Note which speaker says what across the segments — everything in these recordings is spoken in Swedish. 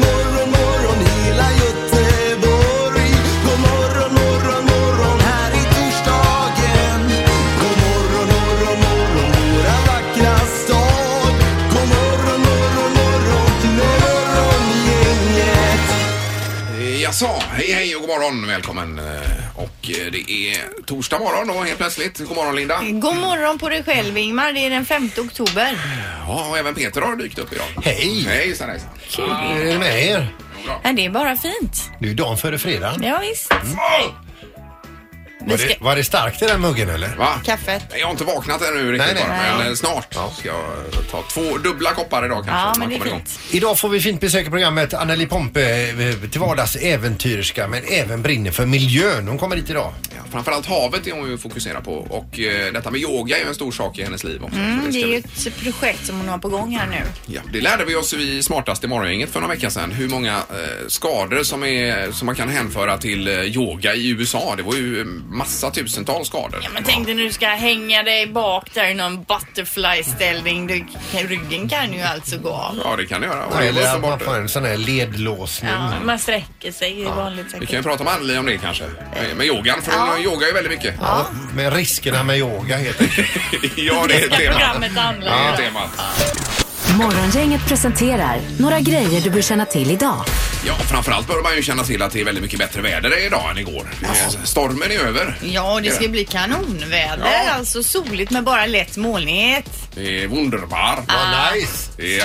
Speaker 1: morgon morgon hela Göteborg. God morgon morgon morgon här i torsdagen. God morgon morgon morgon våra vackra stad. God morgon morgon morgon morgongänget.
Speaker 2: Jaså, hej hej och god morgon, välkommen. Eh, Och eh, det är torsdag morgon då helt plötsligt. God morgon Linda.
Speaker 3: God morgon på dig själv Ingmar, det är den 5 oktober.
Speaker 2: Ja, och även Peter har dykt upp idag.
Speaker 4: Hej!
Speaker 2: Hejsan hejsan.
Speaker 4: Hur är det med er?
Speaker 3: Ja, det är bara fint.
Speaker 4: Det är ju dagen före fredag.
Speaker 3: Ja, visst.
Speaker 2: Ah,
Speaker 4: Var
Speaker 3: Vi ska...
Speaker 4: det, var det starkt i den muggen eller?
Speaker 2: Va?
Speaker 3: Kaffet.
Speaker 2: Nej, Jag har inte vaknat ännu riktigt
Speaker 4: Nej, nej.
Speaker 2: bara, men
Speaker 3: Nej.
Speaker 2: eh, snart ska jag eh, ta två dubbla koppar idag kanske.
Speaker 3: Ja,
Speaker 2: så
Speaker 3: men
Speaker 2: man
Speaker 3: det är
Speaker 2: kommer igång.
Speaker 3: fint.
Speaker 4: Idag får vi fint besök i programmet. Anneli Pompe, eh, till vardags äventyrska men även brinner för miljön. Hon kommer hit idag.
Speaker 2: Ja, framförallt havet är hon ju fokuserad på och eh, detta med yoga är ju en stor sak i hennes liv också. Så
Speaker 3: Mm, det
Speaker 2: ska
Speaker 3: är
Speaker 2: vi-
Speaker 3: ju ett projekt som hon har på gång här nu.
Speaker 2: Ja, det lärde vi oss i Smartast i morgongänget för några vecka sedan. Hur många eh, skador som, är, som man kan hänföra till eh, yoga i USA. Det var ju eh, massa tusentals skador.
Speaker 3: Ja, men tänk dig när du ska hänga dig bak där i någon butterfly-ställning. Du, ryggen kan ju alltså gå av.
Speaker 2: Ja, det kan det göra. Och det var
Speaker 4: Eller att man
Speaker 2: uppenbart.
Speaker 4: får en sån här ledlåsning.
Speaker 3: Ja, man sträcker sig i vanligt
Speaker 2: Vi kan ju
Speaker 3: säkert.
Speaker 2: prata med Anneli om det kanske. Eh, Med- Med yogan, för hon yogar ju väldigt mycket. Ja,
Speaker 4: Med riskerna med yoga helt enkelt.
Speaker 2: det är temat.
Speaker 3: Programmet
Speaker 2: Det är
Speaker 3: handlar ju om.
Speaker 2: temat.
Speaker 5: Morgongänget presenterar några grejer du bör känna till idag.
Speaker 2: Ja, och framförallt bör man ju känna till att det är väldigt mycket bättre väder idag än igår. Eh, Stormen är över.
Speaker 3: Ja, det ska bli kanonväder.
Speaker 2: Ja.
Speaker 3: Alltså soligt med bara lätt molnighet.
Speaker 2: Det är wunderbar.
Speaker 4: Vad nice!
Speaker 2: Ja,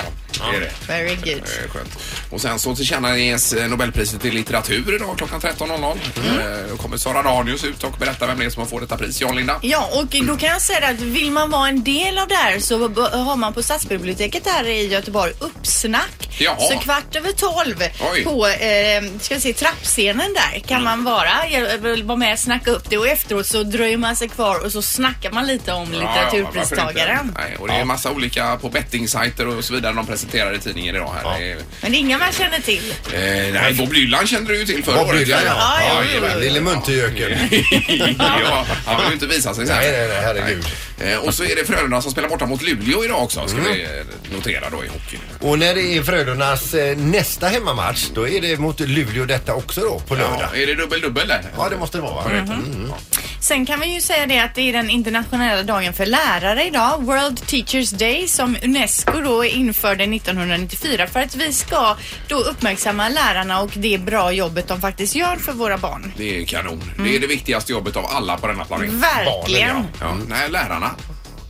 Speaker 2: det är det.
Speaker 3: Very good.
Speaker 2: Eh, Skönt. Och sen så tillkännages eh, Nobelpriset i litteratur idag klockan 13.00.
Speaker 4: Mm.
Speaker 2: Eh, Då kommer Sara Danius ut och berätta vem det är som får detta pris. Jan Linda?
Speaker 3: Ja, och då kan jag säga att vill man vara en del av det här så b- har man på Stadsbiblioteket här i Göteborg uppsnack.
Speaker 2: Jaha.
Speaker 3: Så kvart över tolv
Speaker 2: Oj.
Speaker 3: på eh, ska vi se, trappscenen där kan man vara. Jag vill vara med och snacka upp det och efteråt så dröjer man sig kvar och så snackar man lite om
Speaker 2: Ja, ja,
Speaker 3: litteraturpristagaren.
Speaker 2: varför inte? Nej, och det är massa olika på bettingsajter och så vidare de presenterar i tidningen idag. Här. Det är-
Speaker 3: Men det är inga man känner till.
Speaker 2: Eh, nej, Bob Dylan kände du ju till förra
Speaker 4: Bob
Speaker 2: året.
Speaker 4: Dylan, ja.
Speaker 3: Ja, ja,
Speaker 2: jajamän.
Speaker 3: ja,
Speaker 4: Lille Munterjöken.
Speaker 2: ja, han vill ju inte visa sig sen.
Speaker 4: Nej, nej, nej, herregud.
Speaker 2: Nej. Eh, Och så är det Frölunda som spelar borta mot Luleå idag också,
Speaker 4: Mm.
Speaker 2: ska vi eh, notera då i hockey.
Speaker 4: Och när det är Frölundas eh, nästa hemmamatch då är det mot Luleå detta också då på lördag.
Speaker 2: Ja, är det dubbel-dubbel där?
Speaker 4: Ja, det måste det vara. Mm, va?
Speaker 3: Mm-hmm. Sen kan vi ju säga det att det är den internationella dagen för lärare idag, World Teachers Day, som UNESCO då införde 1994 för att vi ska då uppmärksamma lärarna och det bra jobbet de faktiskt gör för våra barn.
Speaker 2: Det är kanon. Det är det viktigaste jobbet av alla på denna planet.
Speaker 3: Verkligen.
Speaker 4: Barnen,
Speaker 2: Ja, nej, lärarna.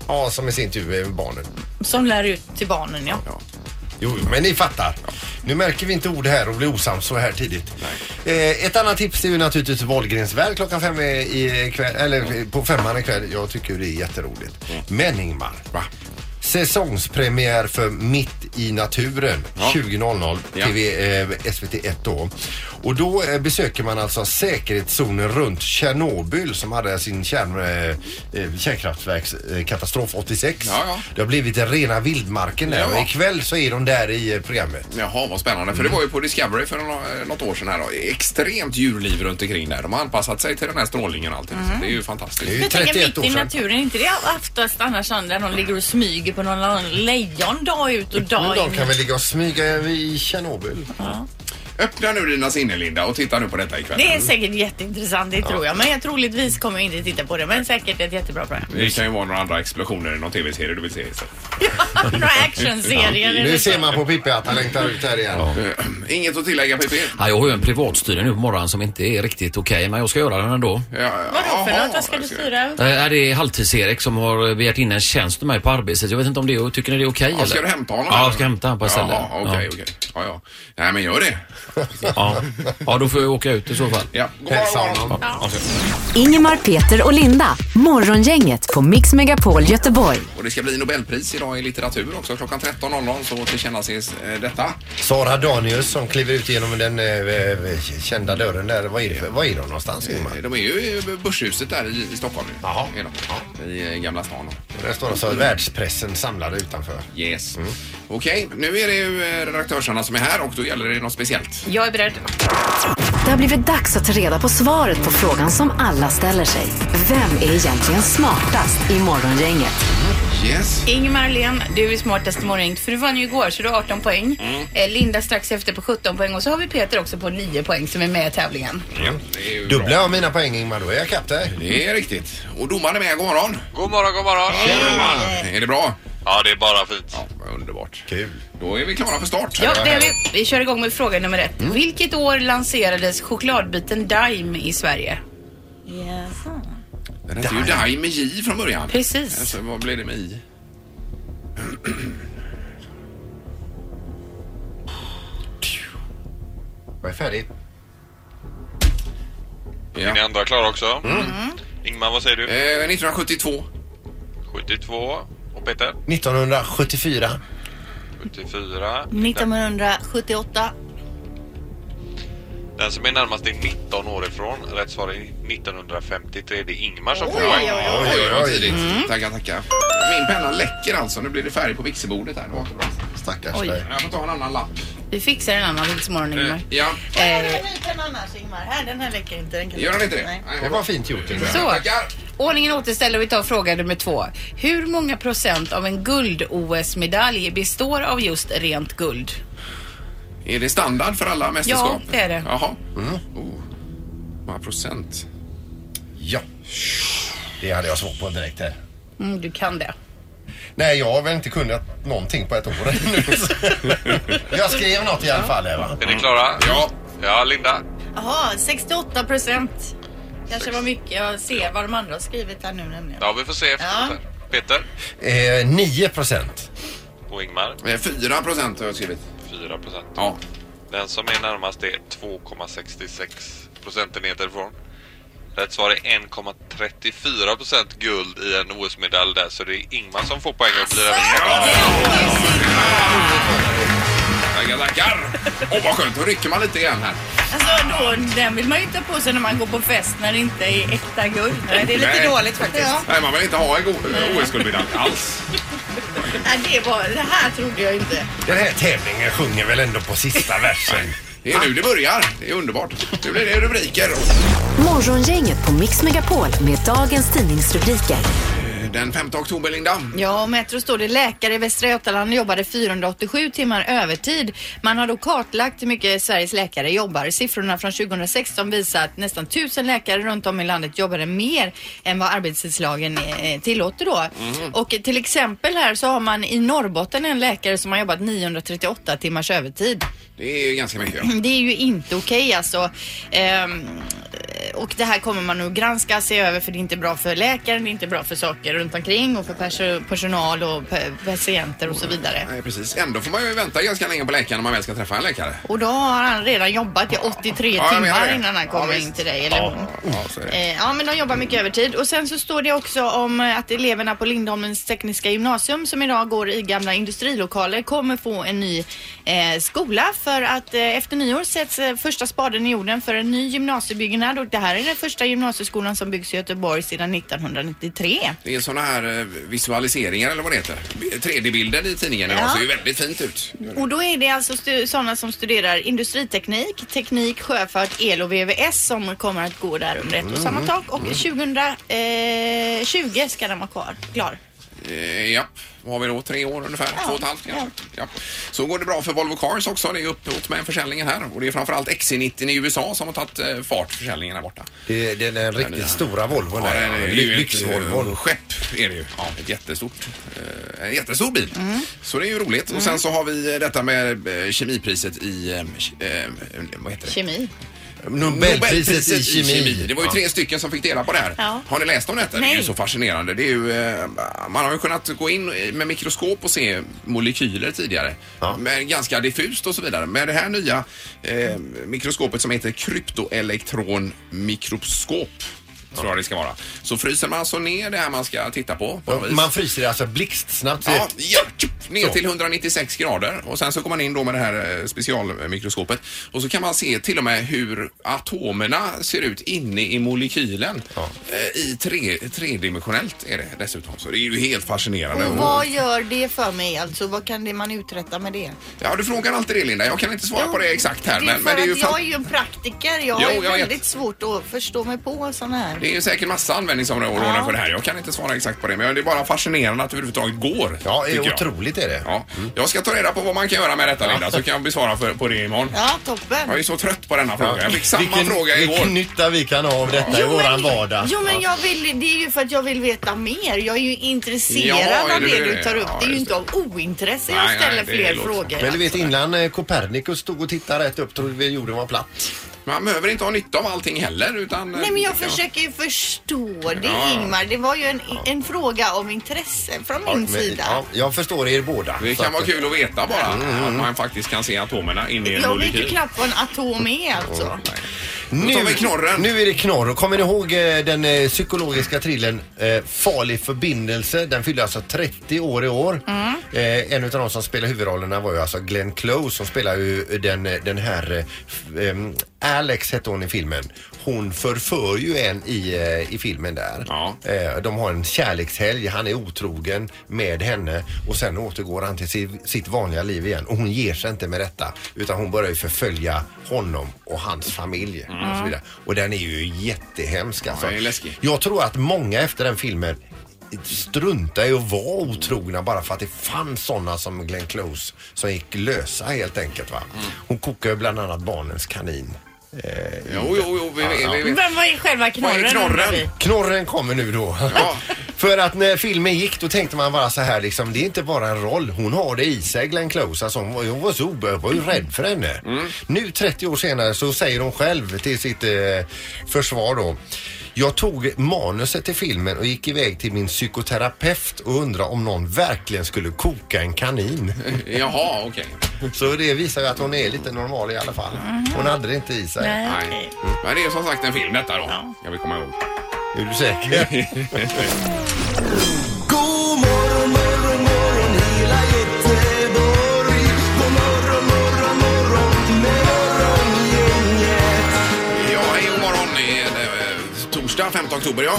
Speaker 4: Ja, som i sin tur är barnen.
Speaker 3: Som lär ut till barnen, ja.
Speaker 2: Ja.
Speaker 4: Jo, jo, men ni fattar. Nu märker vi inte ord här och blir osams så här tidigt. Eh, ett annat tips är ju naturligtvis Wahlgrens värld klockan fem i- i kväll, eller eh, på femman ikväll. Jag tycker det är jätteroligt. Men Ingmar, säsongspremiär för Mitt i naturen
Speaker 2: Ja.
Speaker 4: 20.00
Speaker 2: Ja.
Speaker 4: TV, eh, SVT1 då. Och då eh, besöker man alltså säkerhetszonen runt Tjernobyl som hade sin kärn, eh, eh, kärnkraftverkskatastrof 86.
Speaker 2: Ja, ja.
Speaker 4: Det har blivit rena vildmarken där.
Speaker 2: Ja.
Speaker 4: Och ikväll så är de där i eh, programmet.
Speaker 2: Jaha, vad spännande. För det var ju på Discovery för nå- eh, något år sedan här då. Extremt djurliv runt omkring där. De har anpassat sig till den här strålningen och allting. Så Det är ju fantastiskt.
Speaker 4: Det är ju
Speaker 3: Jag tänker
Speaker 4: 31
Speaker 3: mitt
Speaker 4: år
Speaker 3: i
Speaker 4: sedan.
Speaker 3: naturen, inte det oftast annars där de ligger och smyger på någon annan lejon dag ut och
Speaker 4: Men
Speaker 3: dag
Speaker 4: de kan
Speaker 3: in.
Speaker 4: väl ligga och smyga i Tjernobyl?
Speaker 2: Öppna nu dina sinnen Linda och titta nu på detta ikväll.
Speaker 3: Det är säkert jätteintressant, det tror jag. Men jag troligtvis kommer jag inte titta på det, men säkert ett jättebra program.
Speaker 2: Det kan ju vara några andra explosioner i någon tv-serie du vill se. Så.
Speaker 3: Några actionserier eller
Speaker 4: Nu
Speaker 3: så.
Speaker 4: ser man på Pippi att han längtar ut här igen.
Speaker 2: Eh, Inget att tillägga PP?
Speaker 6: Ja, jag har ju en privatstyrning nu på morgonen som inte är riktigt okej, men jag ska göra den ändå.
Speaker 3: Vadå för något? Vad ska du styra?
Speaker 6: Eh, är det är Halvtids-Erik som har begärt in en tjänst till mig på arbetet. Jag vet inte om det är, tycker ni det är okej
Speaker 2: Ja,
Speaker 6: eller?
Speaker 2: ska du hämta honom?
Speaker 6: Ja,
Speaker 2: eller?
Speaker 6: jag ska hämta honom på ett ställe.
Speaker 2: Jaha, okej,
Speaker 6: Ja.
Speaker 2: okej. Ja, ja. Nej, men gör det.
Speaker 6: Ja. ja, då får jag åka ut i så fall.
Speaker 2: Ja, god
Speaker 4: Hälsa
Speaker 2: morgon.
Speaker 4: honom.
Speaker 6: Ja.
Speaker 5: Ingemar, Peter och Linda. Morgongänget på Mix Megapol Göteborg.
Speaker 2: Och det ska bli Nobelpris idag i litteratur också. Klockan 13.00 så tillkännases eh, detta.
Speaker 4: Sara Danius som kliver ut genom den eh, kända dörren där. Vad är, det för, vad är de någonstans Ingmar?
Speaker 2: Eh, De är ju i Börshuset där i, i Stockholm. nu.
Speaker 4: Jaha.
Speaker 2: Är de. I eh, Gamla stan.
Speaker 4: Där står alltså världspressen samlade utanför.
Speaker 2: Yes. Okej, nu är det ju eh, redaktörsarna som är här och då gäller det något speciellt.
Speaker 3: Jag är beredd.
Speaker 5: Det har blivit dags att ta reda på svaret på frågan som alla ställer sig. Vem är egentligen smartast i Morgongänget?
Speaker 2: Yes.
Speaker 3: Ingemar Len, du är smartast i morgon. För du vann ju igår så du har 18 poäng. Eh, Linda strax efter på 17 poäng och så har vi Peter också på 9 poäng som är med i tävlingen.
Speaker 2: Det är ju bra.
Speaker 4: Dubbla av mina poäng Ingmar, då är jag kapp dig.
Speaker 2: Det är riktigt. Och domaren är med. God morgon.
Speaker 7: God morgon, god morgon.
Speaker 2: Är det bra?
Speaker 7: Ja, det är bara fint.
Speaker 2: Ja, vad underbart.
Speaker 4: Kul.
Speaker 2: Då är vi klara för start.
Speaker 3: Ja, det är vi. Vi kör igång med fråga nummer ett. Vilket år lanserades chokladbiten Dime i Sverige?
Speaker 2: Den hette ju Dime med J från början.
Speaker 3: Precis.
Speaker 2: Alltså, vad blev det med I?
Speaker 4: Jag är färdig.
Speaker 7: Är ni
Speaker 2: Ja.
Speaker 7: andra klara också? Ingmar, vad säger du?
Speaker 2: Eh, 1972.
Speaker 7: 72. Och Peter?
Speaker 4: 1974.
Speaker 7: 74.
Speaker 3: 1978.
Speaker 7: Den som är närmast är 19 år ifrån. Rätt svar är 1953. Det är Ingmar som får
Speaker 2: Oj, oj,
Speaker 7: poäng.
Speaker 2: oj. vad tidigt.
Speaker 3: Mm.
Speaker 2: Tackar, tackar. Min penna läcker alltså. Nu blir det färg på vixelbordet här. Det var inte bra.
Speaker 4: Stackars
Speaker 3: Oj. Mm.
Speaker 4: dig.
Speaker 2: Jag får ta en annan lapp. Eh,
Speaker 3: Vi fixar en annan vintermorgon, Ingemar.
Speaker 2: Ja,
Speaker 3: Eh,
Speaker 2: gör den inte det? Nej,
Speaker 4: Det var fint gjort Ingmar.
Speaker 3: så,
Speaker 2: Tackar.
Speaker 3: ordningen återställer och vi tar fråga nummer två. Hur många procent av en guld-OS-medalj består av just rent guld?
Speaker 2: Är det standard för alla mästerskap?
Speaker 3: Ja, det är det.
Speaker 2: Jaha.
Speaker 4: Mm.
Speaker 2: Oh. Många procent?
Speaker 4: Ja. Det hade jag svårt på direkt här.
Speaker 3: Mm, du kan det.
Speaker 4: Nej, jag har väl inte kunnat någonting på ett år nu. jag skrev något i alla fall här va?
Speaker 7: Är ni klara?
Speaker 2: Ja.
Speaker 7: Ja, Linda.
Speaker 3: Jaha, 68 procent. Kanske var mycket. Jag ser vad de andra har skrivit här nu nämligen.
Speaker 7: Ja, vi får se.
Speaker 3: Ja.
Speaker 7: Peter
Speaker 4: Eh, 9 procent.
Speaker 7: och Ingmar.
Speaker 2: Eh, Fyra procent har jag skrivit.
Speaker 7: 4 procent.
Speaker 2: Ja.
Speaker 7: Den som är närmast är 2,66 procentenheter ifrån. Rätt svar är 1,34 procent guld i en OS-medalj där, så det är Ingmar som får poäng och blir även
Speaker 2: Tackar, tackar. Åh, vad skönt. Då rycker man lite igen här.
Speaker 3: Alltså då, den vill man ju inte på sig när man går på fest när det inte är äkta guld. Nej, det är
Speaker 2: Nej.
Speaker 3: faktiskt. Ja.
Speaker 2: Nej, man vill inte ha en go- eh, OS-guldmedalj alls.
Speaker 3: Nej, det, var, det här trodde jag inte.
Speaker 4: Den här tävlingen sjunger väl ändå på sista versen?
Speaker 2: Det är nu det börjar. Det är underbart. Nu blir det rubriker.
Speaker 5: Morgongänget på Mix Megapol med dagens tidningsrubriker.
Speaker 2: Eh, Den 5 oktober, Linda.
Speaker 3: Ja, och Metro står det läkare i Västra Götaland jobbade 487 timmar övertid. Man har då kartlagt hur mycket Sveriges läkare jobbar. Siffrorna från 2016 visar att nästan 1000 läkare runt om i landet jobbade mer än vad arbetstidslagen eh, tillåter då. Och till exempel här så har man i Norrbotten en läkare som har jobbat 938 timmars övertid.
Speaker 2: Det är ju ganska mycket.
Speaker 3: Det är ju inte okej alltså. Ehm, och det här kommer man att granska, se över för det är inte bra för läkaren, det är inte bra för saker runt omkring och för perso- personal och pe- patienter och så vidare.
Speaker 2: Nej, precis. Ändå får man ju vänta ganska länge på läkaren när man väl ska träffa en läkare.
Speaker 3: Och då har han redan jobbat i 83
Speaker 2: Ja, jag menar
Speaker 3: timmar
Speaker 2: det.
Speaker 3: innan han
Speaker 2: Ja,
Speaker 3: kommer
Speaker 2: visst.
Speaker 3: in till dig eller hon.
Speaker 2: Ja, så är det.
Speaker 3: Eh, Ja men de jobbar mycket övertid och sen så står det också om eh, att eleverna på Lindholmens tekniska gymnasium som idag går i gamla industrilokaler kommer få en ny eh, skola för att eh, efter nyår sätts eh, första spaden i jorden för en ny gymnasiebyggnad och det här är den första gymnasieskolan som byggs i Göteborg sedan 1993.
Speaker 2: Det är såna här eh, visualiseringar eller vad det heter. 3D-bilden i tidningen idag
Speaker 3: Ja.
Speaker 2: ser ju väldigt fint ut.
Speaker 3: Och då är det alltså stu- sådana som studerar industriteknik, teknik, sjöfart, el och VVS som kommer att gå där under ett och samma tak och 2020 ska den vara kvar, klar.
Speaker 2: Eh, ja, vad har vi då? Tre år ungefär? Två och ett halvt kanske? Ja. Så går det bra för Volvo Cars också. Det är uppåt med försäljningen här. Och det är framförallt XC90 i USA som har tagit eh, fart försäljningen här borta.
Speaker 4: Det är den riktigt stora Volvon
Speaker 2: Ja, det
Speaker 4: där.
Speaker 2: är ju ett, eh,
Speaker 4: Lyxvolvon.
Speaker 2: Skepp är det ju. Ja, ett jättestort, eh, en jättestor bil. Så det är ju roligt. Och sen så har vi eh, detta med eh, kemipriset i eh, ke- eh, vad heter det?
Speaker 3: Kemi.
Speaker 4: Nobelpriset i kemi.
Speaker 2: Det var ju tre stycken som fick dela på det här.
Speaker 3: Ja.
Speaker 2: Har ni läst om detta? Det är ju
Speaker 3: Nej.
Speaker 2: så fascinerande. Det är ju, eh, man har ju kunnat gå in med mikroskop och se molekyler tidigare.
Speaker 4: Ja.
Speaker 2: Men ganska diffust och så vidare. Med det här nya eh, mikroskopet som heter kryptoelektronmikroskop tror jag det ska vara. Så fryser man alltså ner det här man ska titta på. på
Speaker 4: Ja,
Speaker 2: något vis.
Speaker 4: Man fryser det alltså blixtsnabbt.
Speaker 2: Ja, ja, tjup, ner
Speaker 4: Så.
Speaker 2: till 196 grader och sen så kommer man in då med det här eh, specialmikroskopet och så kan man se till och med hur atomerna ser ut inne i molekylen. Eh, I tre, tredimensionellt är det dessutom. Så det är ju helt fascinerande.
Speaker 8: Och vad gör det för mig alltså? Vad kan det man uträtta med det?
Speaker 2: Ja, du frågar alltid det Linda. Jag kan inte svara på det exakt här.
Speaker 8: Det är
Speaker 2: Men,
Speaker 8: för
Speaker 2: men det är ju
Speaker 8: att
Speaker 2: fan-
Speaker 8: jag är ju en praktiker. Jag
Speaker 2: Jo,
Speaker 8: har ju
Speaker 2: jag vet.
Speaker 8: väldigt svårt att förstå mig på sådana här.
Speaker 2: det är ju säkert massa användningsområden
Speaker 8: Ja.
Speaker 2: för det här. Jag kan inte svara exakt på det, men det är bara fascinerande att det överhuvudtaget går.
Speaker 4: Ja, det
Speaker 2: tycker
Speaker 4: är
Speaker 2: jag.
Speaker 4: otroligt är det.
Speaker 2: Ja. Jag ska ta reda på vad man kan göra med detta Linda, så kan jag besvara för, på det imorgon.
Speaker 8: Ja, toppen.
Speaker 2: Jag är så trött på denna fråga. Jag fick samma
Speaker 4: vilken,
Speaker 2: fråga igår.
Speaker 4: Vilken nytta vi kan ha av detta i våran vardag.
Speaker 8: Jo men jag vill, det är ju för att jag vill veta mer. Jag är ju intresserad
Speaker 2: Ja, är
Speaker 8: av
Speaker 2: det
Speaker 8: det,
Speaker 2: det?
Speaker 8: du tar upp.
Speaker 2: Ja,
Speaker 8: det är ju
Speaker 2: just
Speaker 8: inte av ointresse
Speaker 2: Nej,
Speaker 8: jag
Speaker 2: nej,
Speaker 8: ställer
Speaker 2: det
Speaker 8: fler
Speaker 2: låter-
Speaker 8: frågar.
Speaker 4: Men du vet innan eh, Copernicus stod och tittade rätt upp trodde vi jorden var platt.
Speaker 2: Man behöver inte ha nytta av allting heller utan... eh,
Speaker 8: Nej men jag försöker ju förstå det
Speaker 2: Ja.
Speaker 8: Ingmar. Det var ju en, en fråga om intresse från min
Speaker 4: Men,
Speaker 8: sida.
Speaker 4: ja, jag förstår er båda.
Speaker 2: Det
Speaker 4: Så
Speaker 2: kan
Speaker 4: att-
Speaker 2: vara kul att veta bara
Speaker 4: Mm,
Speaker 2: att man faktiskt kan se atomerna inne i en
Speaker 8: Jag vet ju
Speaker 2: molekyl.
Speaker 8: knappt vad en atom är alltså.
Speaker 2: Nu tar vi knorren.
Speaker 4: nu är det knorr. Och kommer ni ihåg eh, den eh, psykologiska thrillern eh, Farlig förbindelse? Den fyllde alltså 30 år i år.
Speaker 2: Mm.
Speaker 4: Eh, en av de som spelade huvudrollerna var ju alltså Glenn Close som spelar ju den, eh, den här eh, f- ehm, Alex hette hon i filmen. Hon förför ju en i, eh, i filmen där.
Speaker 2: Ja.
Speaker 4: Eh, De har en kärlekshelg, han är otrogen med henne och sen återgår han till si- sitt vanliga liv igen. Och hon ger sig inte med detta utan hon börjar ju förfölja honom och hans familj. Och, så vidare. och den är ju jättehemsk alltså.
Speaker 2: Mm. den är läskig.
Speaker 4: Jag tror att många efter den filmen struntar i att vara otrogna bara för att det fanns sådana som Glenn Close som gick lösa helt enkelt. Va?
Speaker 2: Mm.
Speaker 4: Hon kokar ju bland annat barnens kanin.
Speaker 2: Jo, jo, jo, vi, vi, vi, vi.
Speaker 3: Men vad är själva knorren?
Speaker 2: Vad är knorren?
Speaker 3: undrar vi?
Speaker 4: Knorren kommer nu då.
Speaker 2: Ja.
Speaker 4: För att när filmen gick då tänkte man bara så här liksom, det är inte bara en roll. Hon har det i sig Glenn Close. Alltså, hon, var- hon var så obe- jag var ju rädd för henne. Nu 30 år senare så säger hon själv till sitt eh, försvar då. Jag tog manuset till filmen och gick iväg till min psykoterapeut och undrade om någon verkligen skulle koka en kanin.
Speaker 2: Jaha, okej.
Speaker 4: Så det visar ju att hon är lite normal i alla fall. Hon hade det inte i sig.
Speaker 3: Nej.
Speaker 2: Nej. Men det är som sagt en film detta då. Jag vill komma ihåg.
Speaker 4: Är du säker?
Speaker 1: God morgon, Alltså, morgon, morgon hela Göteborg. God morgon, morgon, morgon med morgongänget.
Speaker 2: Ja, hej och morgon. Det är, eh, Torsdag 5 oktober, ja.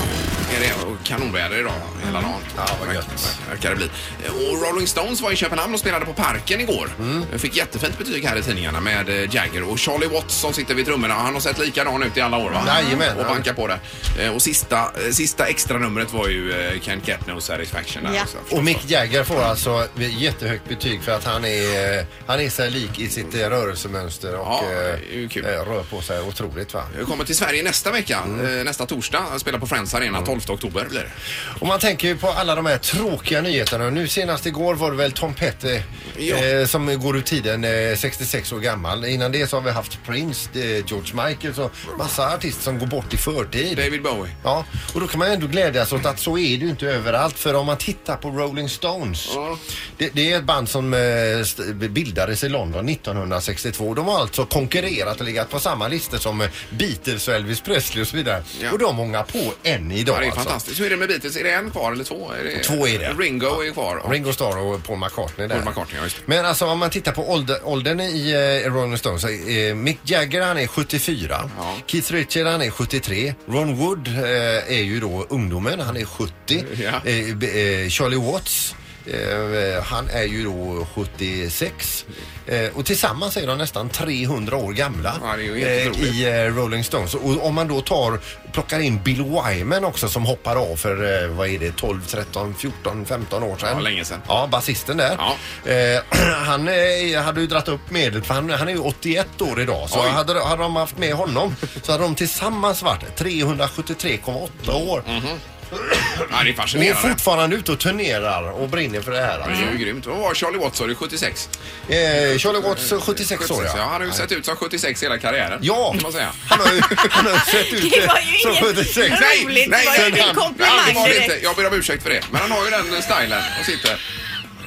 Speaker 2: Är det och kanonväder idag hela dagen. Ja,
Speaker 4: Mm. vad gött.
Speaker 2: Verkar det bli. Och Rolling Stones var i Köpenhamn och spelade på Parken igår.
Speaker 4: Mm.
Speaker 2: Fick jättefint betyg här i tidningarna med eh, Jagger och Charlie Watts som sitter vid trummorna. Han har sett likadan ut i alla år va?
Speaker 4: Jajamän.
Speaker 2: Och bankar på det. Eh, Och sista, eh, sista extra numret var ju eh, Can't Get No Satisfaction. Där
Speaker 8: Ja.
Speaker 2: också, förstås.
Speaker 4: Och Mick Jagger får alltså jättehögt betyg för att han är, eh, han är sig lik i sitt eh, rörelsemönster och
Speaker 2: Ja, det
Speaker 4: eh,
Speaker 2: är ju kul.
Speaker 4: eh, rör på sig otroligt. Va?
Speaker 2: Jag kommer till Sverige nästa vecka,
Speaker 4: Mm.
Speaker 2: eh, nästa torsdag. Spelar på Friends Arena 12 oktober blir det.
Speaker 4: Och man tänker ju på alla de här tråkiga nyheterna. Nu senast igår var det väl Tom Petty
Speaker 2: Ja.
Speaker 4: eh, som går ur tiden eh, 66 år gammal. Innan det så har vi haft Prince, eh, George Michael och massa artister som går bort i förtid.
Speaker 2: David Bowie.
Speaker 4: Ja, och då kan man ändå glädjas åt att så är det ju inte överallt. För om man tittar på Rolling Stones. Det, det är ett band som eh, st- bildades i London 1962. De har alltså konkurrerat och legat på samma listor som eh, Beatles och Elvis Presley och så vidare.
Speaker 2: Ja.
Speaker 4: Och de ångar på än idag
Speaker 2: Ja, det är
Speaker 4: alltså.
Speaker 2: fantastiskt. Hur är det med Beatles? Är det en kvar eller två? Är det...
Speaker 4: Två är det.
Speaker 2: Ringo är kvar. Och-
Speaker 4: Ringo Starr och Paul McCartney där.
Speaker 2: Paul McCartney, ja, just det.
Speaker 4: Men alltså om man tittar på ålder, åldern i eh, Rolling Stones. Eh, Mick Jagger han är 74.
Speaker 2: Ja.
Speaker 4: Keith Richards han är 73. Ron Wood eh, är ju då ungdomen, han är 70.
Speaker 2: Ja.
Speaker 4: Eh, b- eh, Charlie Watts eh, han är ju då 76 eh, och tillsammans är de nästan 300 år gamla
Speaker 2: Ja, det är ju helt
Speaker 4: eh,
Speaker 2: otroligt.
Speaker 4: i eh, Rolling Stones. Och om man då tar, plockar in Bill Wyman också som hoppar av för, eh, vad är det, 12, 13, 14, 15 år sedan.
Speaker 2: Ja, länge sedan.
Speaker 4: Ja, basisten där.
Speaker 2: Ja.
Speaker 4: Eh, han eh, hade ju dratt upp medlet för han, han är ju 81 år idag. Så
Speaker 2: Oj.
Speaker 4: hade,
Speaker 2: Mm,
Speaker 4: hade de haft med honom så hade de tillsammans varit 373,8 år.
Speaker 2: Ja, det är
Speaker 4: Hon är
Speaker 2: fascinerande.
Speaker 4: fortfarande ute och turnerar och brinner för det här.
Speaker 2: Det
Speaker 4: Alltså.
Speaker 2: är ju grymt. Vad var Charlie Watts sa du? 76?
Speaker 4: Eh, Charlie Watts, 76 år, ja.
Speaker 2: ja. Han har ju sett ut som 76 hela karriären.
Speaker 4: Ja.
Speaker 2: Kan man säga.
Speaker 4: Han har ju han har ju sett ut
Speaker 3: Det var ju
Speaker 4: som
Speaker 3: inget
Speaker 4: 76.
Speaker 2: Nej, nej,
Speaker 3: roligt.
Speaker 2: nej,
Speaker 3: var ju
Speaker 2: nej,
Speaker 3: en komplimang
Speaker 2: nej, det var det
Speaker 3: direkt.
Speaker 2: inte. Jag ber om ursäkt för det. Men han har ju den stilen och sitter.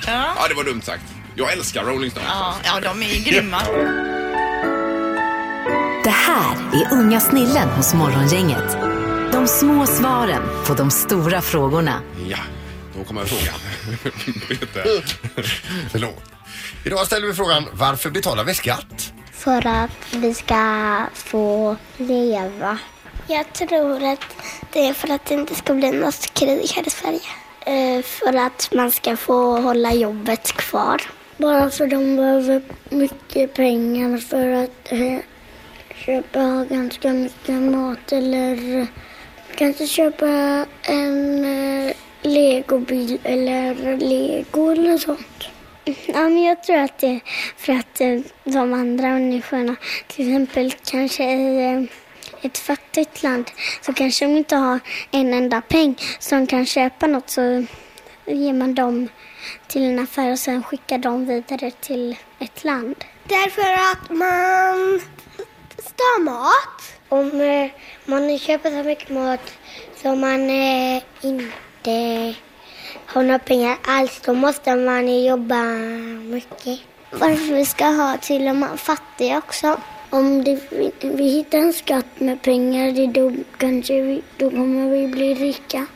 Speaker 3: Ja.
Speaker 2: Ja, det var dumt sagt. Jag älskar Rolling Stones.
Speaker 3: Ja, ja, de är grymma.
Speaker 5: Det här är Unga snillen hos Morgongänget. De små svaren på de stora frågorna.
Speaker 2: Ja, då kommer frågan. Peter.
Speaker 4: Förlåt. Idag ställer vi frågan varför betalar vi skatt?
Speaker 9: För att vi ska få leva. Jag tror att det är för att det inte ska bli något krig här i Sverige. Eh, För att man ska få hålla jobbet kvar. Bara för de behöver mycket pengar för att eh, köpa ganska mycket mat eller eh, kanske köpa en legobil eller lego eller sånt. Ja, men jag tror att det är för att eh, de andra människorna, till exempel kanske i eh, ett fattigt land, så kanske de inte har en enda peng. Så de kan köpa något så ger man dem till en affär och sen skickar de vidare till ett land. Därför att man stör mat. Om eh, man köper så mycket mat som man eh, inte har några pengar alls, då måste man jobba mycket. Varför vi ska ha till de fattiga också? Om det, vi, vi hittar en skatt med pengar, det då kanske vi, då kommer vi bli rika.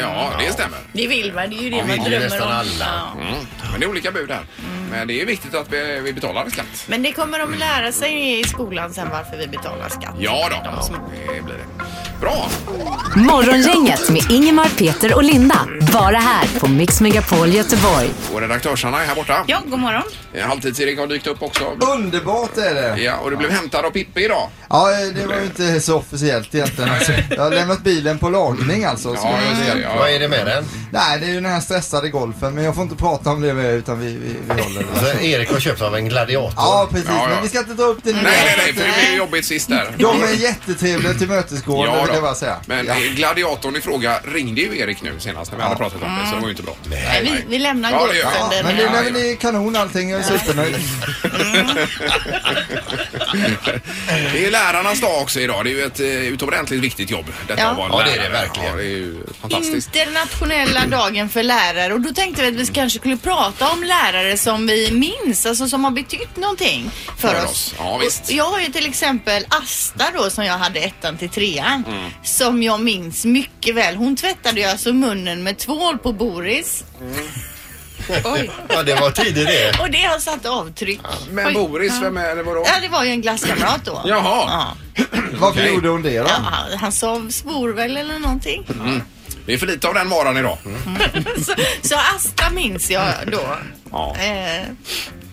Speaker 2: Ja, det stämmer.
Speaker 3: Det vill man, det är ju det
Speaker 2: Ja,
Speaker 3: man
Speaker 2: det är
Speaker 3: drömmer
Speaker 2: nästan
Speaker 3: om.
Speaker 2: alla.
Speaker 3: Ja.
Speaker 2: Mm. Men det är olika bud här.
Speaker 3: Mm.
Speaker 2: Men det är viktigt att vi, vi betalar skatt.
Speaker 3: Men det kommer de lära sig i skolan sen varför vi betalar skatt.
Speaker 2: Ja då, det blir det. Bra!
Speaker 5: Morgongänget med Ingemar, Peter och Linda. Bara här på Mix Megapol Göteborg.
Speaker 2: Och redaktörs-Hanna är här borta. Eh,
Speaker 3: Ja, god morgon.
Speaker 2: Halvtids-Erik har dykt upp också.
Speaker 10: Underbart är det!
Speaker 2: Ja, och du blev hämtad av Pippi idag.
Speaker 10: Ja, eh, det var ju inte så officiellt egentligen. Alltså. Jag har lämnat bilen på lagning alltså.
Speaker 2: Ja, just det, ja. Vad är det med den?
Speaker 10: Nej, det är ju den här stressade golfen. Men jag får inte prata om det med er, utan vi, vi, vi håller det.
Speaker 4: Alltså, Erik har köpt av en gladiator.
Speaker 10: Ja, precis. Men vi ska inte ta upp det nu.
Speaker 2: Nej, nej, nej, för det blev ju jobbigt sist där.
Speaker 10: De är jättetrevliga tillmötesgående,
Speaker 2: Ja,
Speaker 10: vill
Speaker 2: då.
Speaker 10: jag bara säga.
Speaker 2: Men eh, gladiatorn i fråga ringde ju Erik nu senast när vi hade pratat om det, så det var ju inte bra.
Speaker 3: Nej, vi, vi lämnar
Speaker 2: Ja, det gör
Speaker 3: golfen
Speaker 2: vi.
Speaker 3: där.
Speaker 10: Men det
Speaker 2: Ja,
Speaker 10: är väl i kanon allting. Jag är supernöjd.
Speaker 2: Det är ju lärarnas dag också idag. Det är ju ett eh, utomordentligt viktigt jobb. Detta
Speaker 3: Ja.
Speaker 2: att vara en
Speaker 4: Ja, det är
Speaker 2: lärare.
Speaker 4: det verkligen.
Speaker 2: Ja, det är ju fantastiskt.
Speaker 3: Internationella dagen för lärare och då tänkte vi att vi kanske skulle prata om lärare som vi minns, alltså som har betytt någonting för,
Speaker 2: För
Speaker 3: oss.
Speaker 2: oss. Ja, visst.
Speaker 3: Och Jag har ju till exempel Asta då som jag hade ettan till trean
Speaker 2: Mm.
Speaker 3: som jag minns mycket väl. Hon tvättade ju alltså munnen med tvål på Boris. Oj.
Speaker 4: Ja, det var tidigt det.
Speaker 3: Och det har satt avtryck.
Speaker 2: Men
Speaker 3: Mm. Oj.
Speaker 2: Boris,
Speaker 3: Ja.
Speaker 2: vem är det vadå?
Speaker 3: Ja, det var ju en glasskamrat då.
Speaker 2: Jaha.
Speaker 10: Varför gjorde hon det då?
Speaker 3: Ja, han sov svor väl eller någonting.
Speaker 2: Mm. Det är för lite av den varan idag.
Speaker 3: så, så Asta minns jag då.
Speaker 2: Ja.
Speaker 3: Eh,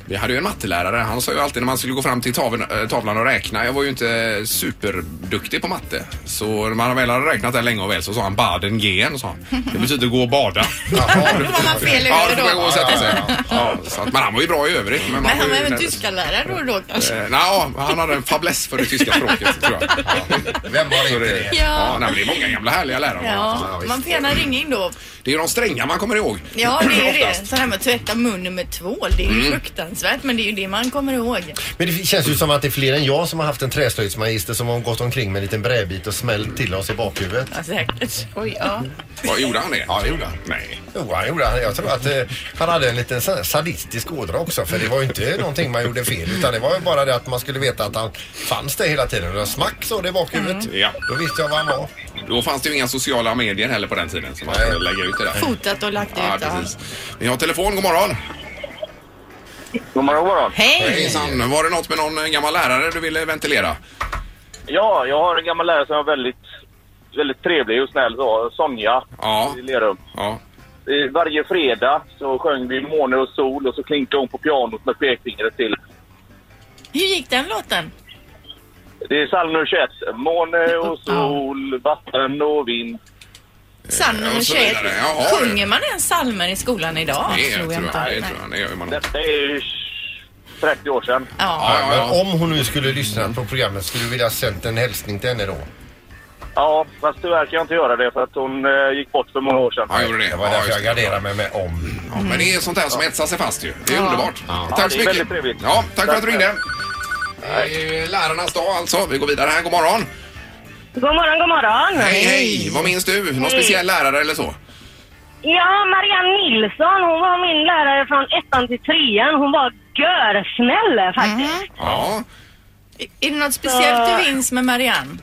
Speaker 2: Vi hade ju en mattelärare. Han sa ju alltid när man skulle gå fram till tavlan, eh, tavlan och räkna. Jag var ju inte superduktig på matte. Så när man väl hade räknat det länge och väl så sa han baden gen, sa han. Det betyder gå och bada.
Speaker 3: då var man fel
Speaker 2: Ja,
Speaker 3: över
Speaker 2: då får jag gå och
Speaker 3: då.
Speaker 2: sätta sig. Ja, så att, men han var ju bra i övrigt. Men, man
Speaker 3: Men han
Speaker 2: var
Speaker 3: var
Speaker 2: ju
Speaker 3: även
Speaker 2: nervös.
Speaker 3: tyskarlärare då och då kanske.
Speaker 2: Eh, nja, han hade en fäbless för det tyska språket tror jag. Vem var inte det? Ja.
Speaker 3: Ja.
Speaker 2: nej, men det är många gamla härliga lärare.
Speaker 3: Ja,
Speaker 2: visst.
Speaker 3: man får gärna ringa in då.
Speaker 2: Det är ju de stränga man kommer ihåg.
Speaker 3: Ja, det är det.
Speaker 2: Oftast.
Speaker 3: Så här med att tvätta munnen med tvål, det är ju
Speaker 4: Mm.
Speaker 3: fruktansvärt men det är ju det man kommer ihåg.
Speaker 4: Men det känns ju som att det är fler än jag som har haft en träslöjdsmagister som har gått omkring med en liten brädbit och smällt till oss i bakhuvudet.
Speaker 3: Ja, säkert. Oj, ja.
Speaker 2: Vad gjorde han det?
Speaker 4: Ja, det gjorde han.
Speaker 2: Nej.
Speaker 4: Jo, han gjorde det. Jag tror att eh, han hade en liten sa- sadistisk ådra också. För det var ju inte någonting man gjorde fel. Utan det var ju bara det att man skulle veta att han fanns där hela tiden. Och smack så det i bakhuvudet.
Speaker 3: Mm.
Speaker 2: Ja.
Speaker 4: Då visste jag var han var.
Speaker 2: Då fanns det ju inga sociala medier heller på den tiden som man skulle lägga ut det där.
Speaker 3: Fotat och lagt ut.
Speaker 2: Ja, precis. Vi har telefon, god morgon.
Speaker 11: God morgon, god morgon.
Speaker 3: Hej!
Speaker 2: Hejsan, var det något med någon eh, gammal lärare du ville ventilera?
Speaker 11: Ja, jag har en gammal lärare som är väldigt, väldigt trevlig och snäll. så, Sonja
Speaker 2: Ja.
Speaker 11: i Lerum.
Speaker 2: Ja.
Speaker 11: Eh, Varje fredag så sjöng vi Måne och sol och så klinkade hon på pianot med pekfingret till.
Speaker 3: Hur gick den låten?
Speaker 11: Det är psalm nummer 21. Måne och sol, vatten och vind.
Speaker 3: Psalm nummer
Speaker 11: och så
Speaker 3: 21.
Speaker 11: vidare. Jaha, det-
Speaker 3: Sjunger man ens psalmer i skolan idag?
Speaker 11: Nej, jag tror jag
Speaker 3: inte.
Speaker 11: inte.
Speaker 3: Nej.
Speaker 11: Detta är ju 30 år sedan.
Speaker 3: Ja.
Speaker 4: men om hon nu skulle lyssna på programmet skulle du vilja ha sänt en hälsning till henne då?
Speaker 11: Ja, fast tyvärr kan jag inte göra det för att hon eh, gick bort för många år sedan.
Speaker 2: Ja, gjorde det.
Speaker 4: Det var därför jag garderade mig med om.
Speaker 2: Ja, men det är sånt där som etsar sig fast ju. Det är
Speaker 4: Ja.
Speaker 2: underbart.
Speaker 4: Ja.
Speaker 11: Ja, det är
Speaker 2: Tack så mycket.
Speaker 11: väldigt trevligt.
Speaker 2: Ja, tack för
Speaker 11: Tack.
Speaker 2: att du ringde. Det är ju lärarnas dag alltså. Vi går vidare här. God morgon.
Speaker 12: God morgon, god morgon.
Speaker 2: Hej, hej. Vad minns du? Någon
Speaker 12: Hej.
Speaker 2: speciell lärare eller så?
Speaker 12: Ja, Marianne Nilsson, hon var min lärare från ettan till trean. Hon var görsnäll faktiskt.
Speaker 2: Ja.
Speaker 3: Är det något speciellt
Speaker 13: Ah.
Speaker 12: Så-
Speaker 3: du minns med Marianne?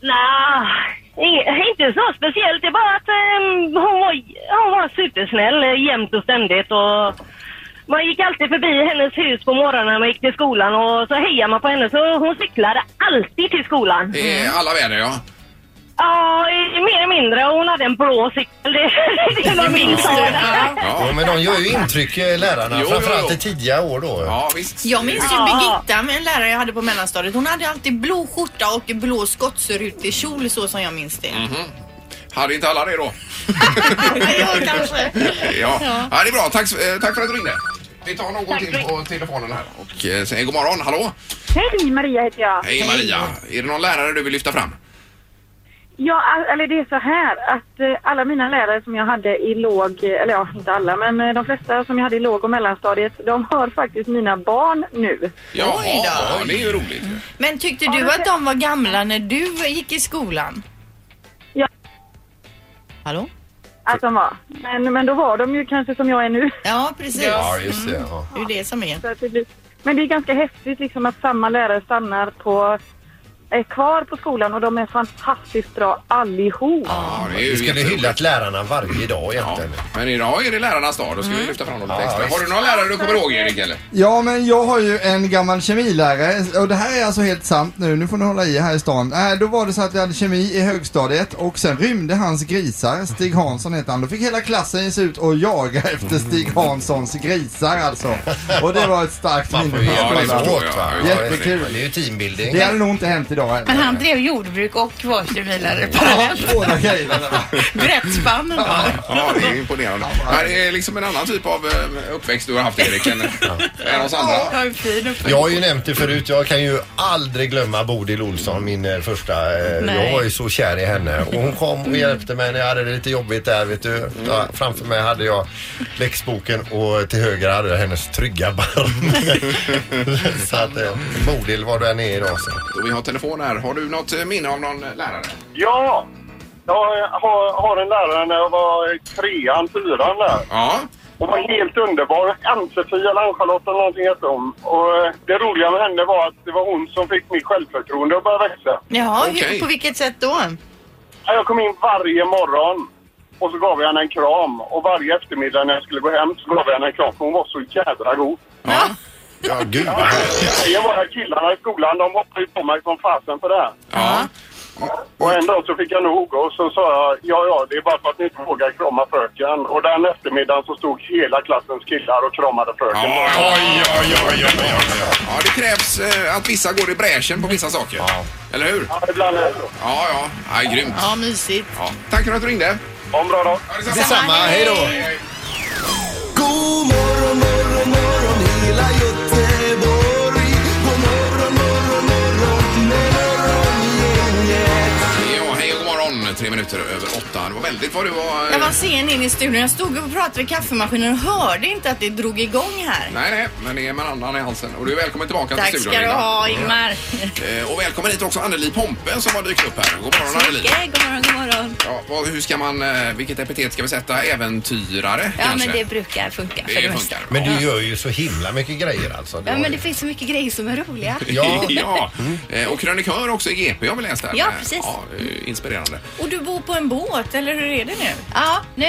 Speaker 12: Nja, i- inte så speciellt. Det är bara att eh, hon, var, hon var supersnäll eh, jämt och ständigt. Och man gick alltid förbi hennes hus på morgonen när man gick till skolan och så hejade man på henne. Så hon cyklade alltid till skolan.
Speaker 2: Det är alla väder ja.
Speaker 12: Ja, i- mer eller mindre. Och Hon hade en blå cykel. Det, det var min sån.
Speaker 4: Ja, men de gör ju intryck eh, lärarna,
Speaker 2: Jo, jo,
Speaker 4: framförallt
Speaker 2: jo.
Speaker 4: i tidiga år då.
Speaker 2: Ja, visst.
Speaker 3: Jag minns ju
Speaker 12: Ja.
Speaker 13: Ah.
Speaker 3: Birgitta, med en lärare jag hade på mellanstadiet. Hon hade alltid blå skjorta och blå skottserutig kjol så som jag minns det.
Speaker 2: Hade inte alla det då?
Speaker 3: jag kanske.
Speaker 2: Ja.
Speaker 3: Ja.
Speaker 2: ja, det är bra. Tack, eh, tack för att du ringde. Vi tar någon till på telefonen här och eh, säger god morgon. Hallå?
Speaker 13: Hej, Maria heter jag.
Speaker 2: Hej Maria. Är det någon lärare du vill lyfta fram?
Speaker 13: Ja, all- eller det är så här att eh, alla mina lärare som jag hade i låg, eh, eller ja, inte alla, men eh, de flesta som jag hade i låg och mellanstadiet, de hör faktiskt mina barn nu.
Speaker 2: Jaha,
Speaker 3: Oj då.
Speaker 2: ja, det är ju roligt. ju.
Speaker 3: Men tyckte
Speaker 13: Ja,
Speaker 3: du
Speaker 13: men-
Speaker 3: att de var gamla när du gick i skolan?
Speaker 13: Ja.
Speaker 3: Hallå?
Speaker 13: Att de var. Men, men då var de ju kanske som jag är nu.
Speaker 3: Ja, precis.
Speaker 4: Ja, just det.
Speaker 3: Mm.
Speaker 4: Ja.
Speaker 3: Det är ju det som är.
Speaker 13: Så att det blir... Men det är ganska häftigt liksom att samma lärare stannar på, är kvar på skolan och de är fantastiskt bra allihop.
Speaker 4: Vi skulle hyllat lärarna varje dag egentligen.
Speaker 2: Men idag är det lärarnas dag. Då ska vi lyfta fram dem lite extra. Har du några lärare du kommer ihåg Erik eller?
Speaker 10: Ja, men jag har ju en gammal kemilärare och det här är alltså helt sant nu. Nu får ni hålla i här i stan. Äh, då var det så att jag hade kemi i högstadiet och sen rymde hans grisar. Stig Hansson hette han. Då fick hela klassen ge sig ut och jaga efter Stig Hanssons grisar alltså. Och det var ett starkt minne.
Speaker 4: Ja, det förstår jag.
Speaker 10: Jättekul.
Speaker 4: Det är ju teambuilding.
Speaker 10: Det hade nog inte hänt idag heller.
Speaker 8: Men han drev jordbruk och var kemilärare parallellt.
Speaker 10: Båda grejerna.
Speaker 8: Brett spann ändå.
Speaker 2: Ja, det är imponerande. Ja, det är liksom en annan typ av eh, uppväxt du har haft Erik än än oss andra.
Speaker 3: Ja, en fin
Speaker 4: Jag har ju nämnt det förut, jag kan ju aldrig glömma Bodil Olsson, min eh, första. eh,
Speaker 3: Nej.
Speaker 4: Jag var ju så kär i henne och hon kom
Speaker 14: Mm.
Speaker 4: och hjälpte mig när jag hade det lite jobbigt där vet du. Ja, framför mig hade jag läxboken och till höger hade jag hennes trygga barn. så att eh, Bodil var där nere idag så.
Speaker 2: Och vi har telefon här. Har du något eh, minne av någon eh, lärare?
Speaker 11: Ja! Jag har, har en lärare när jag var i trean, fyran där.
Speaker 2: Ja.
Speaker 11: Hon var helt underbar. Ann-Sofie eller Ann-Charlotte eller någonting hette hon. Och eh, det roliga med henne var att det var hon som fick mitt självförtroende att börja växa.
Speaker 3: Jaha, hur, på vilket sätt då?
Speaker 11: Ja, Jag kom in varje morgon och så gav jag henne en kram. Och varje eftermiddag när jag skulle gå hem så gav jag henne en kram för hon var så jädra god.
Speaker 4: Ja, gud.
Speaker 11: Jag var här killarna i skolan, de hoppade ju på mig som fasen för det här. Och en dag så fick jag nog och så sa jag, ja ja, det är bara för att ni inte vågar krama fröken. Och den eftermiddagen så stod hela klassens killar och kramade fröken.
Speaker 2: Oj, oj, oj, oj, oj. Ja, det krävs eh, att vissa går i bräschen på vissa saker. Eller hur? Ja,
Speaker 11: ibland är det
Speaker 2: så. Ja, ja. Aj, grymt.
Speaker 3: Ja, mysigt.
Speaker 2: Ja. Tack för att du ringde.
Speaker 11: Ha en bra dag.
Speaker 4: Detsamma, hej då.
Speaker 1: God morgon, morgon, morgon hela Göteborg. God morgon, morgon, morgon med morgongänget.
Speaker 2: Ja, hej och god morgon. Tre minuter över åtta. Det var väldigt vad du var... eh,
Speaker 3: Jag var sen in i studion. Jag stod och pratade vid kaffemaskinen och hörde inte att det drog igång här.
Speaker 2: Nej, nej, men det är med andan i halsen. Och du är välkommen tillbaka
Speaker 3: Tack
Speaker 2: till
Speaker 3: ska
Speaker 2: studion.
Speaker 3: du
Speaker 2: Linda.
Speaker 3: ha Ingmar.
Speaker 2: Eh, Och välkommen hit också Anneli Pompe som har dykt upp här. God morgon
Speaker 3: Tack,
Speaker 2: Anneli.
Speaker 14: god morgon, god morgon.
Speaker 2: Ja, vad, hur ska man, eh, vilket epitet ska vi sätta? Äventyrare
Speaker 14: Ja,
Speaker 2: kanske?
Speaker 14: men det brukar funka för det, mesta.
Speaker 4: Men du gör ju så himla mycket grejer alltså.
Speaker 14: Ja, men det finns så mycket grejer som är roliga.
Speaker 2: Ja, ja. Eh, och krönikör också i GP har vi läst här.
Speaker 14: Ja, precis.
Speaker 2: Ja, eh, inspirerande.
Speaker 3: Och du bor på en båt, eller hur är det nu?
Speaker 14: Ja, nu,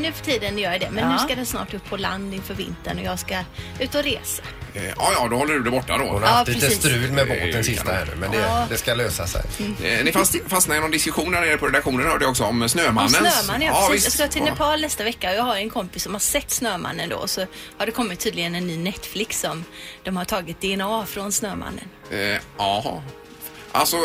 Speaker 14: nu för tiden gör jag det. Men
Speaker 3: Ja.
Speaker 14: nu ska den snart upp på land inför vintern och jag ska ut och resa.
Speaker 2: Eh, ja, ja, då håller du det borta då.
Speaker 4: Hon har haft lite strul med båten sista här nu men det,
Speaker 14: Ja. Mm.
Speaker 4: det ska lösa sig.
Speaker 2: Eh, ni fast, fastnade i någon diskussion här nere på redaktionen hörde jag också om
Speaker 14: Om
Speaker 2: Snömannen.
Speaker 14: snömannen, ja, precis. Jag ska till
Speaker 2: Ja.
Speaker 14: Nepal nästa vecka och jag har en kompis som har sett Snömannen då. Så har det kommit tydligen en ny Netflix som de har tagit DNA från Snömannen.
Speaker 2: Eh, Jaha. Alltså,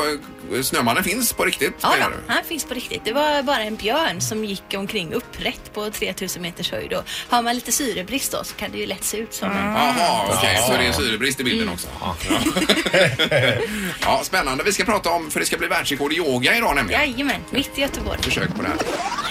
Speaker 2: eh, Snömannen finns på riktigt
Speaker 14: Ja,
Speaker 2: menar du?
Speaker 14: då, han finns på riktigt. Det var bara en björn som gick omkring upprätt på 3000 meters höjd. Och har man lite syrebrist då så kan det ju lätt se ut som en...
Speaker 3: Mm.
Speaker 2: Jaha, okej,
Speaker 4: Ja.
Speaker 2: så det är syrebrist i
Speaker 14: Mm.
Speaker 2: bilden också. Ja. ja, spännande. Vi ska prata om, för det ska bli världsrekord i yoga idag nämligen.
Speaker 14: Jajamän, mitt i Göteborg.
Speaker 2: Försök på det här.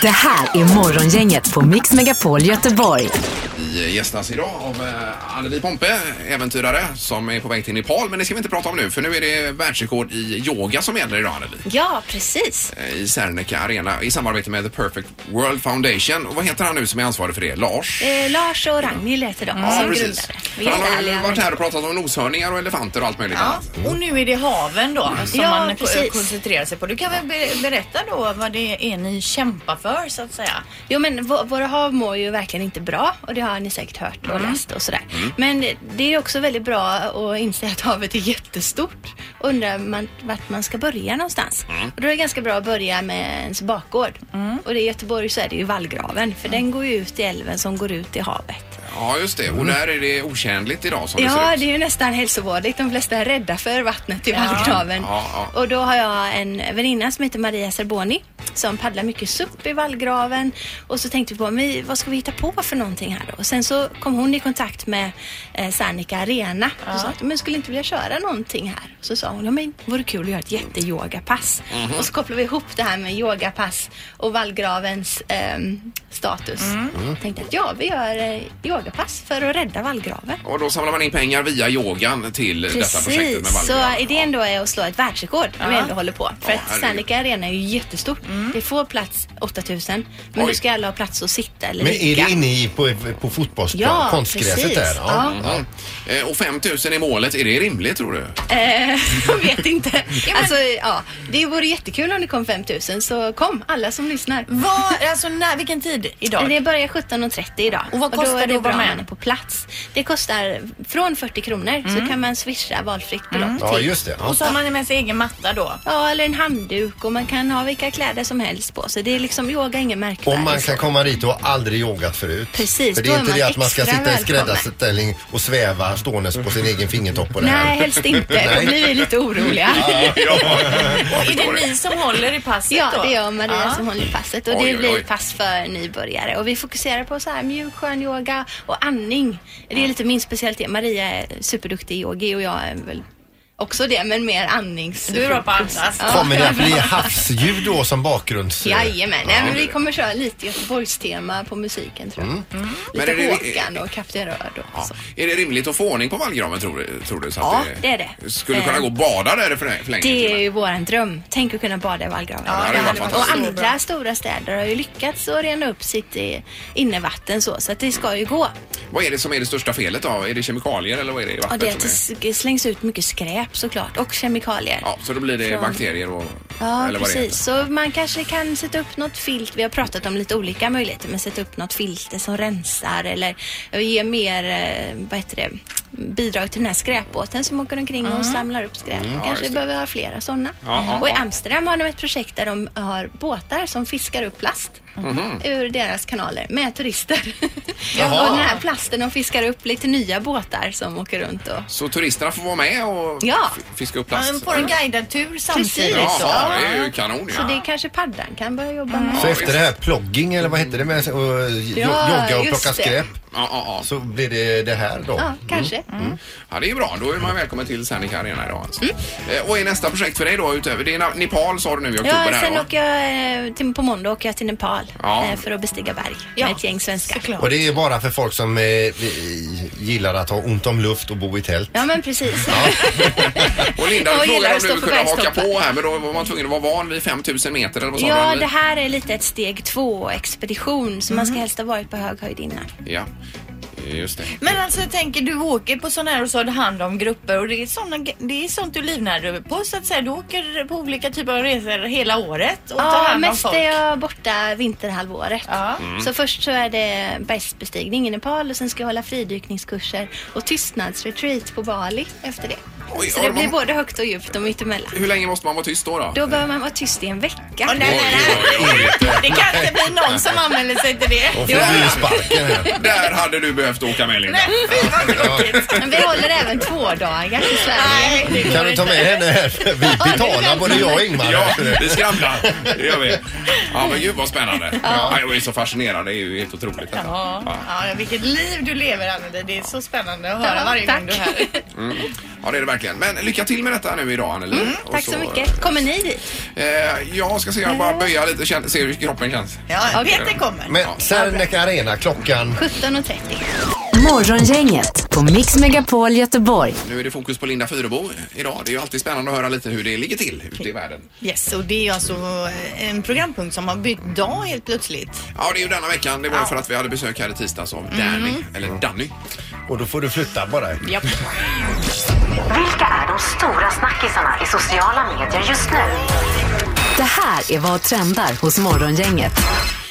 Speaker 5: Det här är Morgongänget på Mix Megapol Göteborg.
Speaker 2: Vi gästas idag av eh, Anneli Pompe, äventyrare, som är på väg till Nepal. Men det ska vi inte prata om nu, för nu är det världsrekord i yoga som gäller idag, Anneli.
Speaker 14: Ja, precis.
Speaker 2: Eh, I Serneke Arena i samarbete med The Perfect World Foundation. Och vad heter han nu som är ansvarig för det? Lars?
Speaker 14: Eh, Lars och Ragnhild heter de som grundare. Vi är
Speaker 2: Han har ju
Speaker 14: jättehärliga.
Speaker 2: varit här och pratat om noshörningar och elefanter och allt möjligt
Speaker 3: Ja,
Speaker 2: annat.
Speaker 3: och nu är det haven då som
Speaker 14: Ja,
Speaker 3: man
Speaker 14: precis.
Speaker 3: precis. koncentrerar sig på. Du kan väl be- berätta då vad det är ni kämpar för så att säga?
Speaker 14: Jo men vå- våra hav mår ju verkligen inte bra och det har ni säkert hört och läst och sådär. Men det är också väldigt bra att inse att havet är jättestort. Undrar man vart man ska börja någonstans. Och då är det ganska bra att börja med ens bakgård. Och det i Göteborg så är det ju vallgraven för den går ju ut i älven som går ut i havet.
Speaker 2: Ja, just det. Och där är det otjänligt idag som det ser
Speaker 14: Ja,
Speaker 2: ut.
Speaker 14: det är ju nästan hälsovådligt. De flesta är rädda för vattnet i vallgraven.
Speaker 2: Ja, ja.
Speaker 14: Och då har jag en väninna som heter Maria Serboni som paddlar mycket SUP i vallgraven. Och så tänkte vi på, men vad ska vi hitta på för någonting här då? Och sen så kom hon i kontakt med eh, Serneke Arena och sa att, men skulle inte vilja köra någonting här? Så sa hon, ja men vore kul att göra ett jätteyogapass.
Speaker 15: Mhm.
Speaker 14: Och så kopplade vi ihop det här med yogapass och vallgravens ehm, status.
Speaker 2: Mm.
Speaker 14: Tänkte att ja, vi gör eh, yogapass för att rädda vallgraven.
Speaker 2: Och då samlar man in pengar via yogan till detta projektet med
Speaker 14: Precis, så
Speaker 2: vallgrav.
Speaker 14: idén då är att slå ett världsrekord när vi
Speaker 3: Ja.
Speaker 14: ändå håller på. För
Speaker 2: Ja,
Speaker 14: att
Speaker 2: herregud.
Speaker 14: Serneke Arena är ju jättestort. Det får plats 8000 men
Speaker 4: Oj.
Speaker 14: då ska alla ha plats att sitta eller
Speaker 4: Men är
Speaker 14: ligga.
Speaker 4: det inne i, på, på fotbollsplan?
Speaker 14: Ja,
Speaker 4: konstgräset
Speaker 14: precis.
Speaker 4: där?
Speaker 14: Ja.
Speaker 2: Ja. Eh, Och 5 000 i målet, är det rimligt tror du?
Speaker 14: Eh, jag vet inte. Alltså, ja, det vore jättekul om det kom 5000 så kom alla som lyssnar.
Speaker 3: Vad, alltså, när, vilken tid idag?
Speaker 14: Det börjar 17.30 idag.
Speaker 3: Och vad kostar
Speaker 14: då är
Speaker 3: det
Speaker 14: det
Speaker 3: att vara
Speaker 14: bra
Speaker 3: med?
Speaker 14: om man är på plats. Det kostar från 40 kronor så kan man swisha valfritt belopp
Speaker 4: Mm.
Speaker 14: till.
Speaker 4: Ja, just det. Ja.
Speaker 3: Och så har man med sig egen matta då?
Speaker 14: Ja, eller en handduk och man kan ha vilka kläder som helst på sig. Det är liksom yoga, inget märkvärdigt.
Speaker 4: Om man kan komma dit och har aldrig yogat förut.
Speaker 14: Precis,
Speaker 4: För det
Speaker 14: då
Speaker 4: är
Speaker 14: är
Speaker 4: inte
Speaker 14: man
Speaker 4: det att man ska
Speaker 14: extra
Speaker 4: sitta i
Speaker 14: välkommen.
Speaker 4: skräddarställning och sväva ståendes på sin egen fingertopp och det här.
Speaker 14: Nej, helst inte. Då
Speaker 4: Nej.
Speaker 14: blir vi lite oroliga.
Speaker 3: Och är det ni som håller i passet
Speaker 14: Ja,
Speaker 3: då?
Speaker 14: det gör Maria
Speaker 3: Ja.
Speaker 14: som håller i passet och
Speaker 3: Oj,
Speaker 14: det
Speaker 3: oj,
Speaker 14: blir
Speaker 3: oj.
Speaker 14: pass för nybörjare. Och vi fokuserar på så här mjuk, skön yoga och andning.
Speaker 3: Mm.
Speaker 14: Det är lite min specialitet. Maria är superduktig yogi och jag är väl också det, men mer andnings...
Speaker 3: Du är bra på att andas.
Speaker 4: Kommer det att bli havsljud då som bakgrunds...
Speaker 14: Jajamän, Nej, men vi
Speaker 4: Ja.
Speaker 14: kommer köra lite Göteborgstema på musiken tror
Speaker 3: Mm.
Speaker 14: jag. Mm.
Speaker 2: Men
Speaker 14: Lite
Speaker 2: är det-
Speaker 14: Håkan och Kapten Röd och så.
Speaker 2: Är det rimligt att få ordning på vallgraven tror du? Tror du så
Speaker 14: Ja,
Speaker 2: att
Speaker 14: det är det.
Speaker 2: Skulle kunna gå och bada där för för länge?
Speaker 14: Det är ju våran dröm. Tänk att kunna bada i vallgraven.
Speaker 2: Ja, det hade varit
Speaker 14: och
Speaker 2: fantastiskt.
Speaker 14: andra stora städer har ju lyckats att rena upp sitt eh, innevatten så, så att det ska ju gå.
Speaker 2: Vad är det som är det största felet då? Är det kemikalier eller vad är det i
Speaker 14: Och
Speaker 2: vattnet?
Speaker 14: det, är att det
Speaker 2: som är...
Speaker 14: s- slängs ut mycket skräp såklart och kemikalier.
Speaker 2: Ja, så då blir det
Speaker 14: Från-
Speaker 2: bakterier och...
Speaker 14: Ja,
Speaker 2: eller vad det
Speaker 14: precis. Så man kanske kan sätta upp något filt. Vi har pratat om lite olika möjligheter, men sätta upp något filter som rensar eller ge mer, eh, vad heter det, bidrag till den här skräpbåten som åker omkring och samlar upp skräp.
Speaker 15: Mm, ja,
Speaker 14: kanske
Speaker 15: just det.
Speaker 14: behöver ha flera sådana.
Speaker 15: Ja, ja,
Speaker 14: Och i
Speaker 15: ja.
Speaker 14: Amsterdam har de ett projekt där de har båtar som fiskar upp plast
Speaker 15: Mhm.
Speaker 14: ur deras kanaler med turister.
Speaker 2: Jaha.
Speaker 14: och den här plasten, de fiskar upp lite nya båtar som åker runt och
Speaker 2: Så turisterna får vara med och
Speaker 14: Ja.
Speaker 2: f- fiska upp
Speaker 3: Man
Speaker 2: plast?
Speaker 3: får en liksom. guidad tur samtidigt.
Speaker 2: Ja,
Speaker 3: då.
Speaker 2: ja, det är ju kanon
Speaker 14: Så
Speaker 2: ju.
Speaker 14: det kanske paddan kan börja jobba med.
Speaker 4: Mm. Så efter det här plogging eller vad hette det med att
Speaker 14: Ja,
Speaker 4: jogga och
Speaker 14: just
Speaker 4: plocka
Speaker 14: det.
Speaker 4: skräp?
Speaker 2: Ja, ja, ja.
Speaker 4: Så blir det det här då?
Speaker 14: Ja, kanske. Mm.
Speaker 2: Ja, det är bra. Då är man välkommen till Serneke Arena idag. Alltså. Eh, Och är nästa projekt för dig då utöver? Det är Na- Nepal sa du nu i oktober
Speaker 14: Ja,
Speaker 2: här
Speaker 14: sen
Speaker 2: va?
Speaker 14: åker jag, eh, till, på måndag åker jag till Nepal
Speaker 4: Ja.
Speaker 14: eh, för att bestiga berg med ett gäng svenskar.
Speaker 4: Och det är bara för folk som eh, gillar att ha ont om luft och bo i tält.
Speaker 14: Ja, men precis.
Speaker 2: Och Linda,
Speaker 14: Jag
Speaker 2: du
Speaker 14: gillar
Speaker 2: frågade om
Speaker 14: att stå
Speaker 2: du
Speaker 14: på
Speaker 2: kunde haka
Speaker 14: bergstoppar.
Speaker 2: på här men då var man tvungen att vara van vid 5000 meter eller vad sa
Speaker 14: Ja,
Speaker 2: du?
Speaker 14: det här är lite ett steg två-expedition så man ska helst ha varit på hög höjd innan.
Speaker 2: Mhm. Ja, just det.
Speaker 3: Men alltså jag tänker, du åker på sådana här och så har du hand om grupper och det är, såna, ge- det är sånt du livnär dig på så att säga. Du åker på olika typer av resor hela året och tar
Speaker 14: Ja,
Speaker 3: hand om
Speaker 14: mest
Speaker 3: folk.
Speaker 14: är jag borta vinterhalvåret.
Speaker 3: Mm.
Speaker 14: Så först så är det bergsbestigning i Nepal och sen ska jag hålla fridykningskurser och tystnadsretreat på Bali efter det.
Speaker 2: Oj,
Speaker 14: så
Speaker 2: ja,
Speaker 14: det
Speaker 2: man-
Speaker 14: blir både högt och djupt och mittemellan.
Speaker 2: Hur länge måste man vara tyst då? Då,
Speaker 14: Då behöver man vara tyst i en vecka.
Speaker 2: nej,
Speaker 3: Det kan inte bli någon som anmäler sig till det.
Speaker 2: Där hade du behövt behövt åka med Linda.
Speaker 3: Nej, fy vad tråkigt. Men vi håller även tvådagar i Sverige. Nej,
Speaker 4: Kan du ta med henne här? Vi betalar både jag och Ingmar.
Speaker 2: Ja, vi skramlar. Det gör vi. Ja, men gud vad spännande. Ja, jag är så fascinerad. Det är ju helt otroligt detta.
Speaker 3: Ja. ja, vilket liv du lever Anneli. Det är så spännande att höra
Speaker 14: Ja,
Speaker 3: varje gång
Speaker 14: tack.
Speaker 3: du är här.
Speaker 2: Mm. Ja, det är det verkligen. Men lycka till med detta nu idag, Anneli. Och
Speaker 14: Mm, Tack så mycket. Kommer ni dit?
Speaker 2: Eh, jag ska se, jag bara böja lite, känn, se hur kroppen känns.
Speaker 3: Ja,
Speaker 14: Okej. vet det kommer.
Speaker 4: Men Serneke Arena, klockan...
Speaker 14: 17.30.
Speaker 5: Morgongänget på Mix Megapol Göteborg.
Speaker 2: Nu är det fokus på Linda Fyrebo idag. Det är ju alltid spännande att höra lite hur det ligger till ute i världen.
Speaker 3: Yes, och det är alltså en programpunkt som har bytt dag helt plötsligt.
Speaker 2: Ja, Mm. det är ju denna veckan. Det var ju för att vi hade besök här i tisdags av Danny, eller Danny.
Speaker 4: Och då får du flytta bara.
Speaker 3: Japp.
Speaker 5: Vilka är de stora snackisarna i sociala medier just nu? Det här är vad trendar hos Morgongänget.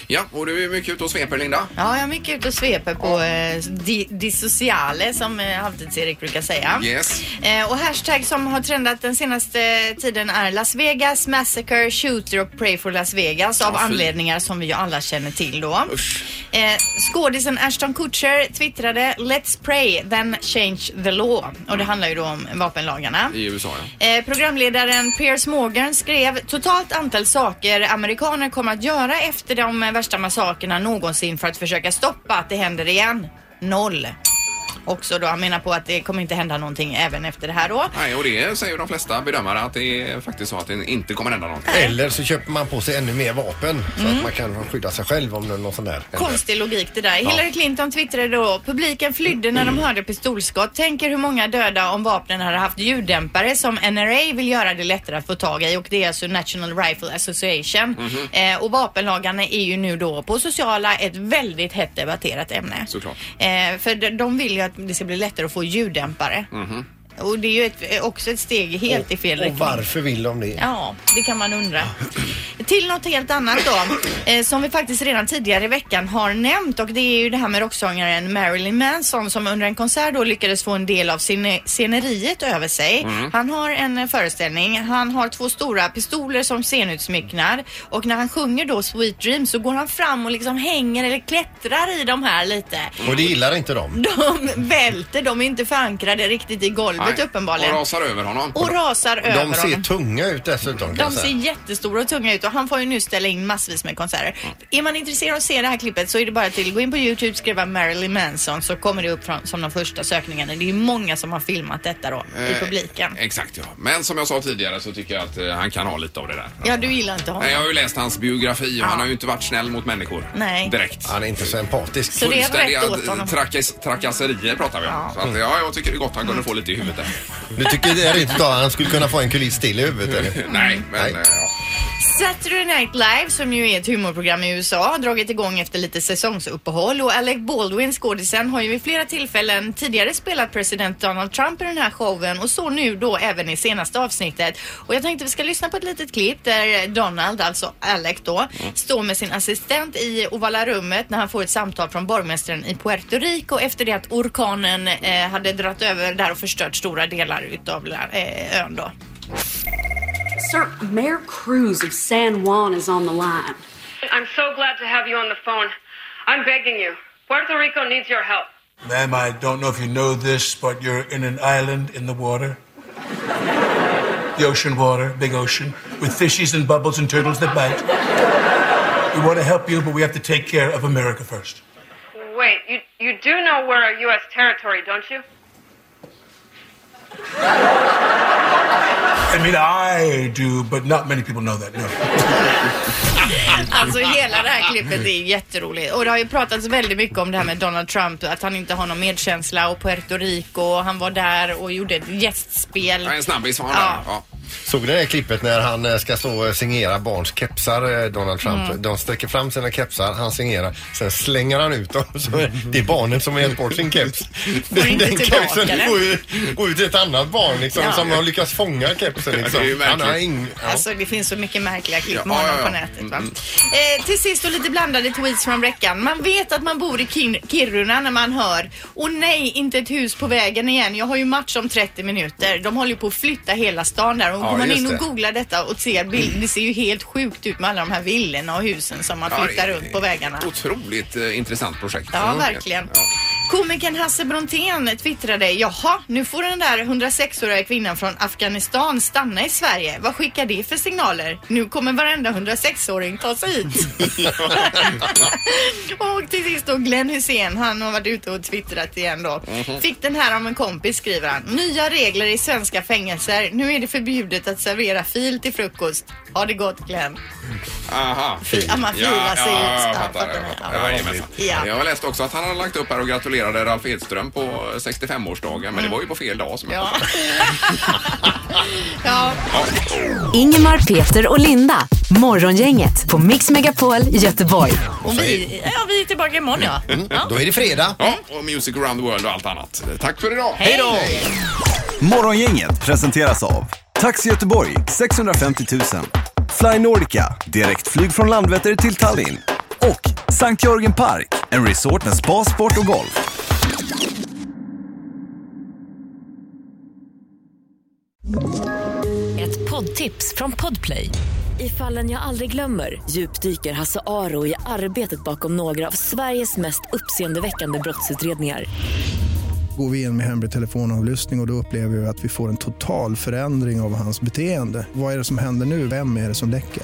Speaker 2: Ja, och du är mycket ute och sveper, Linda.
Speaker 3: Ja, jag är mycket ute och sveper på eh, di, di sociale som eh, halvtids-Erik brukar säga.
Speaker 2: Yes.
Speaker 3: Eh, och hashtag som har trendat den senaste tiden är Las Vegas Massacre, Shooter och Pray for Las Vegas av
Speaker 8: Ja, fy.
Speaker 3: anledningar som vi ju alla känner till då. Eh, skådisen Ashton Kutcher twittrade Let's pray then change the law. Och det handlar ju då om vapenlagarna.
Speaker 2: I USA, ja.
Speaker 3: Eh, programledaren Piers Morgan skrev totalt antal saker amerikaner kommer att göra efter de eh, värsta massakerna någonsin för att försöka stoppa att det händer igen. Noll. Också då, han menar på att det kommer inte hända någonting även efter det här då.
Speaker 2: Nej, och det säger de flesta bedömare att det är faktiskt så att det inte kommer hända någonting.
Speaker 4: Eller så köper man på sig ännu mer vapen så
Speaker 3: Mm.
Speaker 4: att man kan skydda sig själv om det är någon sån där händer.
Speaker 3: Konstig logik det där.
Speaker 4: Ja.
Speaker 3: Hillary Clinton twittrade då, publiken flydde när de hörde pistolskott. Tänker hur många döda om vapnen hade haft ljuddämpare som NRA vill göra det lättare att få tag i och det är alltså National Rifle Association.
Speaker 8: Mhm.
Speaker 3: Eh, och vapenlagarna är ju nu då på sociala ett väldigt hett debatterat ämne.
Speaker 2: Såklart.
Speaker 3: Eh, för de, de vill ju att det ska bli lättare att få ljuddämpare. Och det är ju ett, också ett steg helt i fel
Speaker 4: Och
Speaker 3: riktning.
Speaker 4: varför vill de det?
Speaker 3: Ja, det kan man undra. Till något helt annat då, eh, som vi faktiskt redan tidigare i veckan har nämnt och det är ju det här med rocksångaren Marilyn Manson som under en konsert då lyckades få en del av scene- sceneriet över sig.
Speaker 8: Mm.
Speaker 3: Han har en eh, föreställning, han har två stora pistoler som scenutsmycknar och när han sjunger då Sweet Dream så går han fram och liksom hänger eller klättrar i de här lite.
Speaker 4: Och det gillar inte de.
Speaker 3: De välter, de är inte förankrade riktigt i golvet
Speaker 4: Nej,
Speaker 3: uppenbarligen.
Speaker 4: och rasar över honom.
Speaker 3: Och rasar över
Speaker 4: De
Speaker 3: honom.
Speaker 4: ser tunga ut dessutom kan
Speaker 3: De
Speaker 4: jag
Speaker 3: ser
Speaker 4: säga.
Speaker 3: jättestora och tunga ut och han får ju nu ställa in massvis med konserter. Är man intresserad av att se det här klippet så är det bara till gå in på Youtube, skriva Marilyn Manson så kommer det upp från, som de första sökningarna. Det är ju många som har filmat detta då i
Speaker 2: Eh,
Speaker 3: publiken.
Speaker 2: Exakt, ja. Men som jag sa tidigare så tycker jag att eh, han kan ha lite av det där.
Speaker 3: Ja, du gillar inte honom.
Speaker 2: Nej, jag har ju läst hans biografi och han har ju inte varit snäll mot människor.
Speaker 3: Nej.
Speaker 2: Direkt.
Speaker 4: Han är inte så empatisk.
Speaker 3: Så det är rätt åt honom.
Speaker 2: Trakass, trakasserier pratar vi om. Så att, ja, jag tycker det är gott han kunde få lite i huvudet
Speaker 3: Mm.
Speaker 4: Du
Speaker 2: där.
Speaker 4: tycker det är inte att han skulle kunna få en kuliss till i huvudet eller?
Speaker 2: Nej, men eh, ja.
Speaker 3: Saturday Night Live som ju är ett humorprogram i USA har dragit igång efter lite säsongsuppehåll och Alec Baldwin, skådisen, har ju vid flera tillfällen tidigare spelat president Donald Trump i den här showen och så nu då även i senaste avsnittet. Och jag tänkte vi ska lyssna på ett litet klipp där Donald, alltså Alec då, står med sin assistent i ovala rummet när han får ett samtal från borgmästaren i Puerto Rico efter det att orkanen eh, hade dratt över där och förstört stora delar utav eh, ön då.
Speaker 15: Sir, Mayor Cruz of San Juan is on the line.
Speaker 16: I'm so glad to have you on the phone. I'm begging you. Puerto Rico needs your help.
Speaker 17: Ma'am, I don't know if you know this, but you're in an island in the water. The ocean water, big ocean, with fishies and bubbles and turtles that bite. We want to help you, but we have to take care of America first.
Speaker 16: Wait, you, you do know we're a U.S. territory, don't you?
Speaker 17: I mean, I do, but not many people know that, no.
Speaker 3: Alltså hela det här klippet är jätteroligt. Och det har ju pratats väldigt mycket om det här med Donald Trump, att han inte har någon medkänsla och Puerto Rico, och han var där och gjorde ett gästspel.
Speaker 2: En snabbis var han där. Ja.
Speaker 4: Såg ni det här klippet när han eh, ska stå och signera barns kepsar, eh, Donald Trump?
Speaker 3: Mm.
Speaker 4: De sträcker fram sina kepsar, han signerar, sen slänger han ut dem. Så är- det är barnet som har gett bort sin keps.
Speaker 3: Får inte tillbaka den.
Speaker 4: går ju går ut till ett annat barn liksom,
Speaker 3: Ja.
Speaker 4: som har lyckats fånga kepsen.
Speaker 2: Ja, det är ju
Speaker 4: Liksom.
Speaker 2: märkligt.
Speaker 4: han har ing- ja.
Speaker 3: Alltså det finns så mycket märkliga klipp
Speaker 4: Ja,
Speaker 3: med honom
Speaker 4: ja, ja.
Speaker 3: på nätet. Va?
Speaker 2: Mm.
Speaker 3: Eh, till sist och lite blandade tweets från veckan. Man vet att man bor i Kin- Kiruna när man hör Åh nej, inte ett hus på vägen igen. Jag har ju match om 30 minuter. De håller ju på att flytta hela stan där. Och
Speaker 2: Ja,
Speaker 3: går man
Speaker 2: just
Speaker 3: in och
Speaker 2: det.
Speaker 3: googlar detta och ser bilder, det ser ju helt sjukt ut med alla de här villorna och husen som man
Speaker 2: Ja,
Speaker 3: flyttar
Speaker 2: det är-
Speaker 3: runt på vägarna.
Speaker 2: Otroligt eh, intressant projekt.
Speaker 3: Ja,
Speaker 2: Mm.
Speaker 3: verkligen. Komikern Hasse Brontén twittrade, jaha, nu får den där 106-åriga kvinnan från Afghanistan stanna i Sverige. Vad skickar det för signaler? Nu kommer varenda 106-åring ta sig hit. och till sist då Glenn Hussein, han har varit ute och twittrat igen då.
Speaker 18: Mhm.
Speaker 3: Fick den här av en kompis skriver han. Nya regler i svenska fängelser. Nu är det förbjudet att servera fil till frukost. Ha det gott Glenn.
Speaker 2: Aha.
Speaker 3: Ja, man filar sig ut.
Speaker 2: ja,
Speaker 3: Ja,
Speaker 2: jag fattar.
Speaker 3: fattar
Speaker 2: Jag,
Speaker 3: det.
Speaker 2: fattar. Jajamensan.
Speaker 3: Ja.
Speaker 2: jag har läst också att han hade lagt upp här och gratulerade Ralf Edström på 65-årsdagen, men
Speaker 3: Mm.
Speaker 2: det var ju på fel dag. Som jag fattar.
Speaker 3: Ja.
Speaker 5: Ingemar, Peter och Linda. Morgongänget på Mix Megapol Göteborg.
Speaker 3: Och vi, ja, vi är tillbaka imorgon ja. ja.
Speaker 4: Då är det fredag.
Speaker 2: Ja, och Music around the world och allt annat. Tack för idag.
Speaker 3: Hej då!
Speaker 19: Morgongänget presenteras av Taxi Göteborg 650 000 Fly Nordica, direktflyg från Landvetter till Tallinn och Sankt Jörgen Park, en resort med spa, sport och golf.
Speaker 20: Ett poddtips från Podplay. I fallen jag aldrig glömmer djupdyker Hasse Aro i arbetet bakom några av Sveriges mest uppseendeväckande brottsutredningar.
Speaker 21: Går vi in med hemlig telefonavlyssning och, och då upplever vi att vi får en total förändring av hans beteende. Vad är det som händer nu? Vem är det som läcker?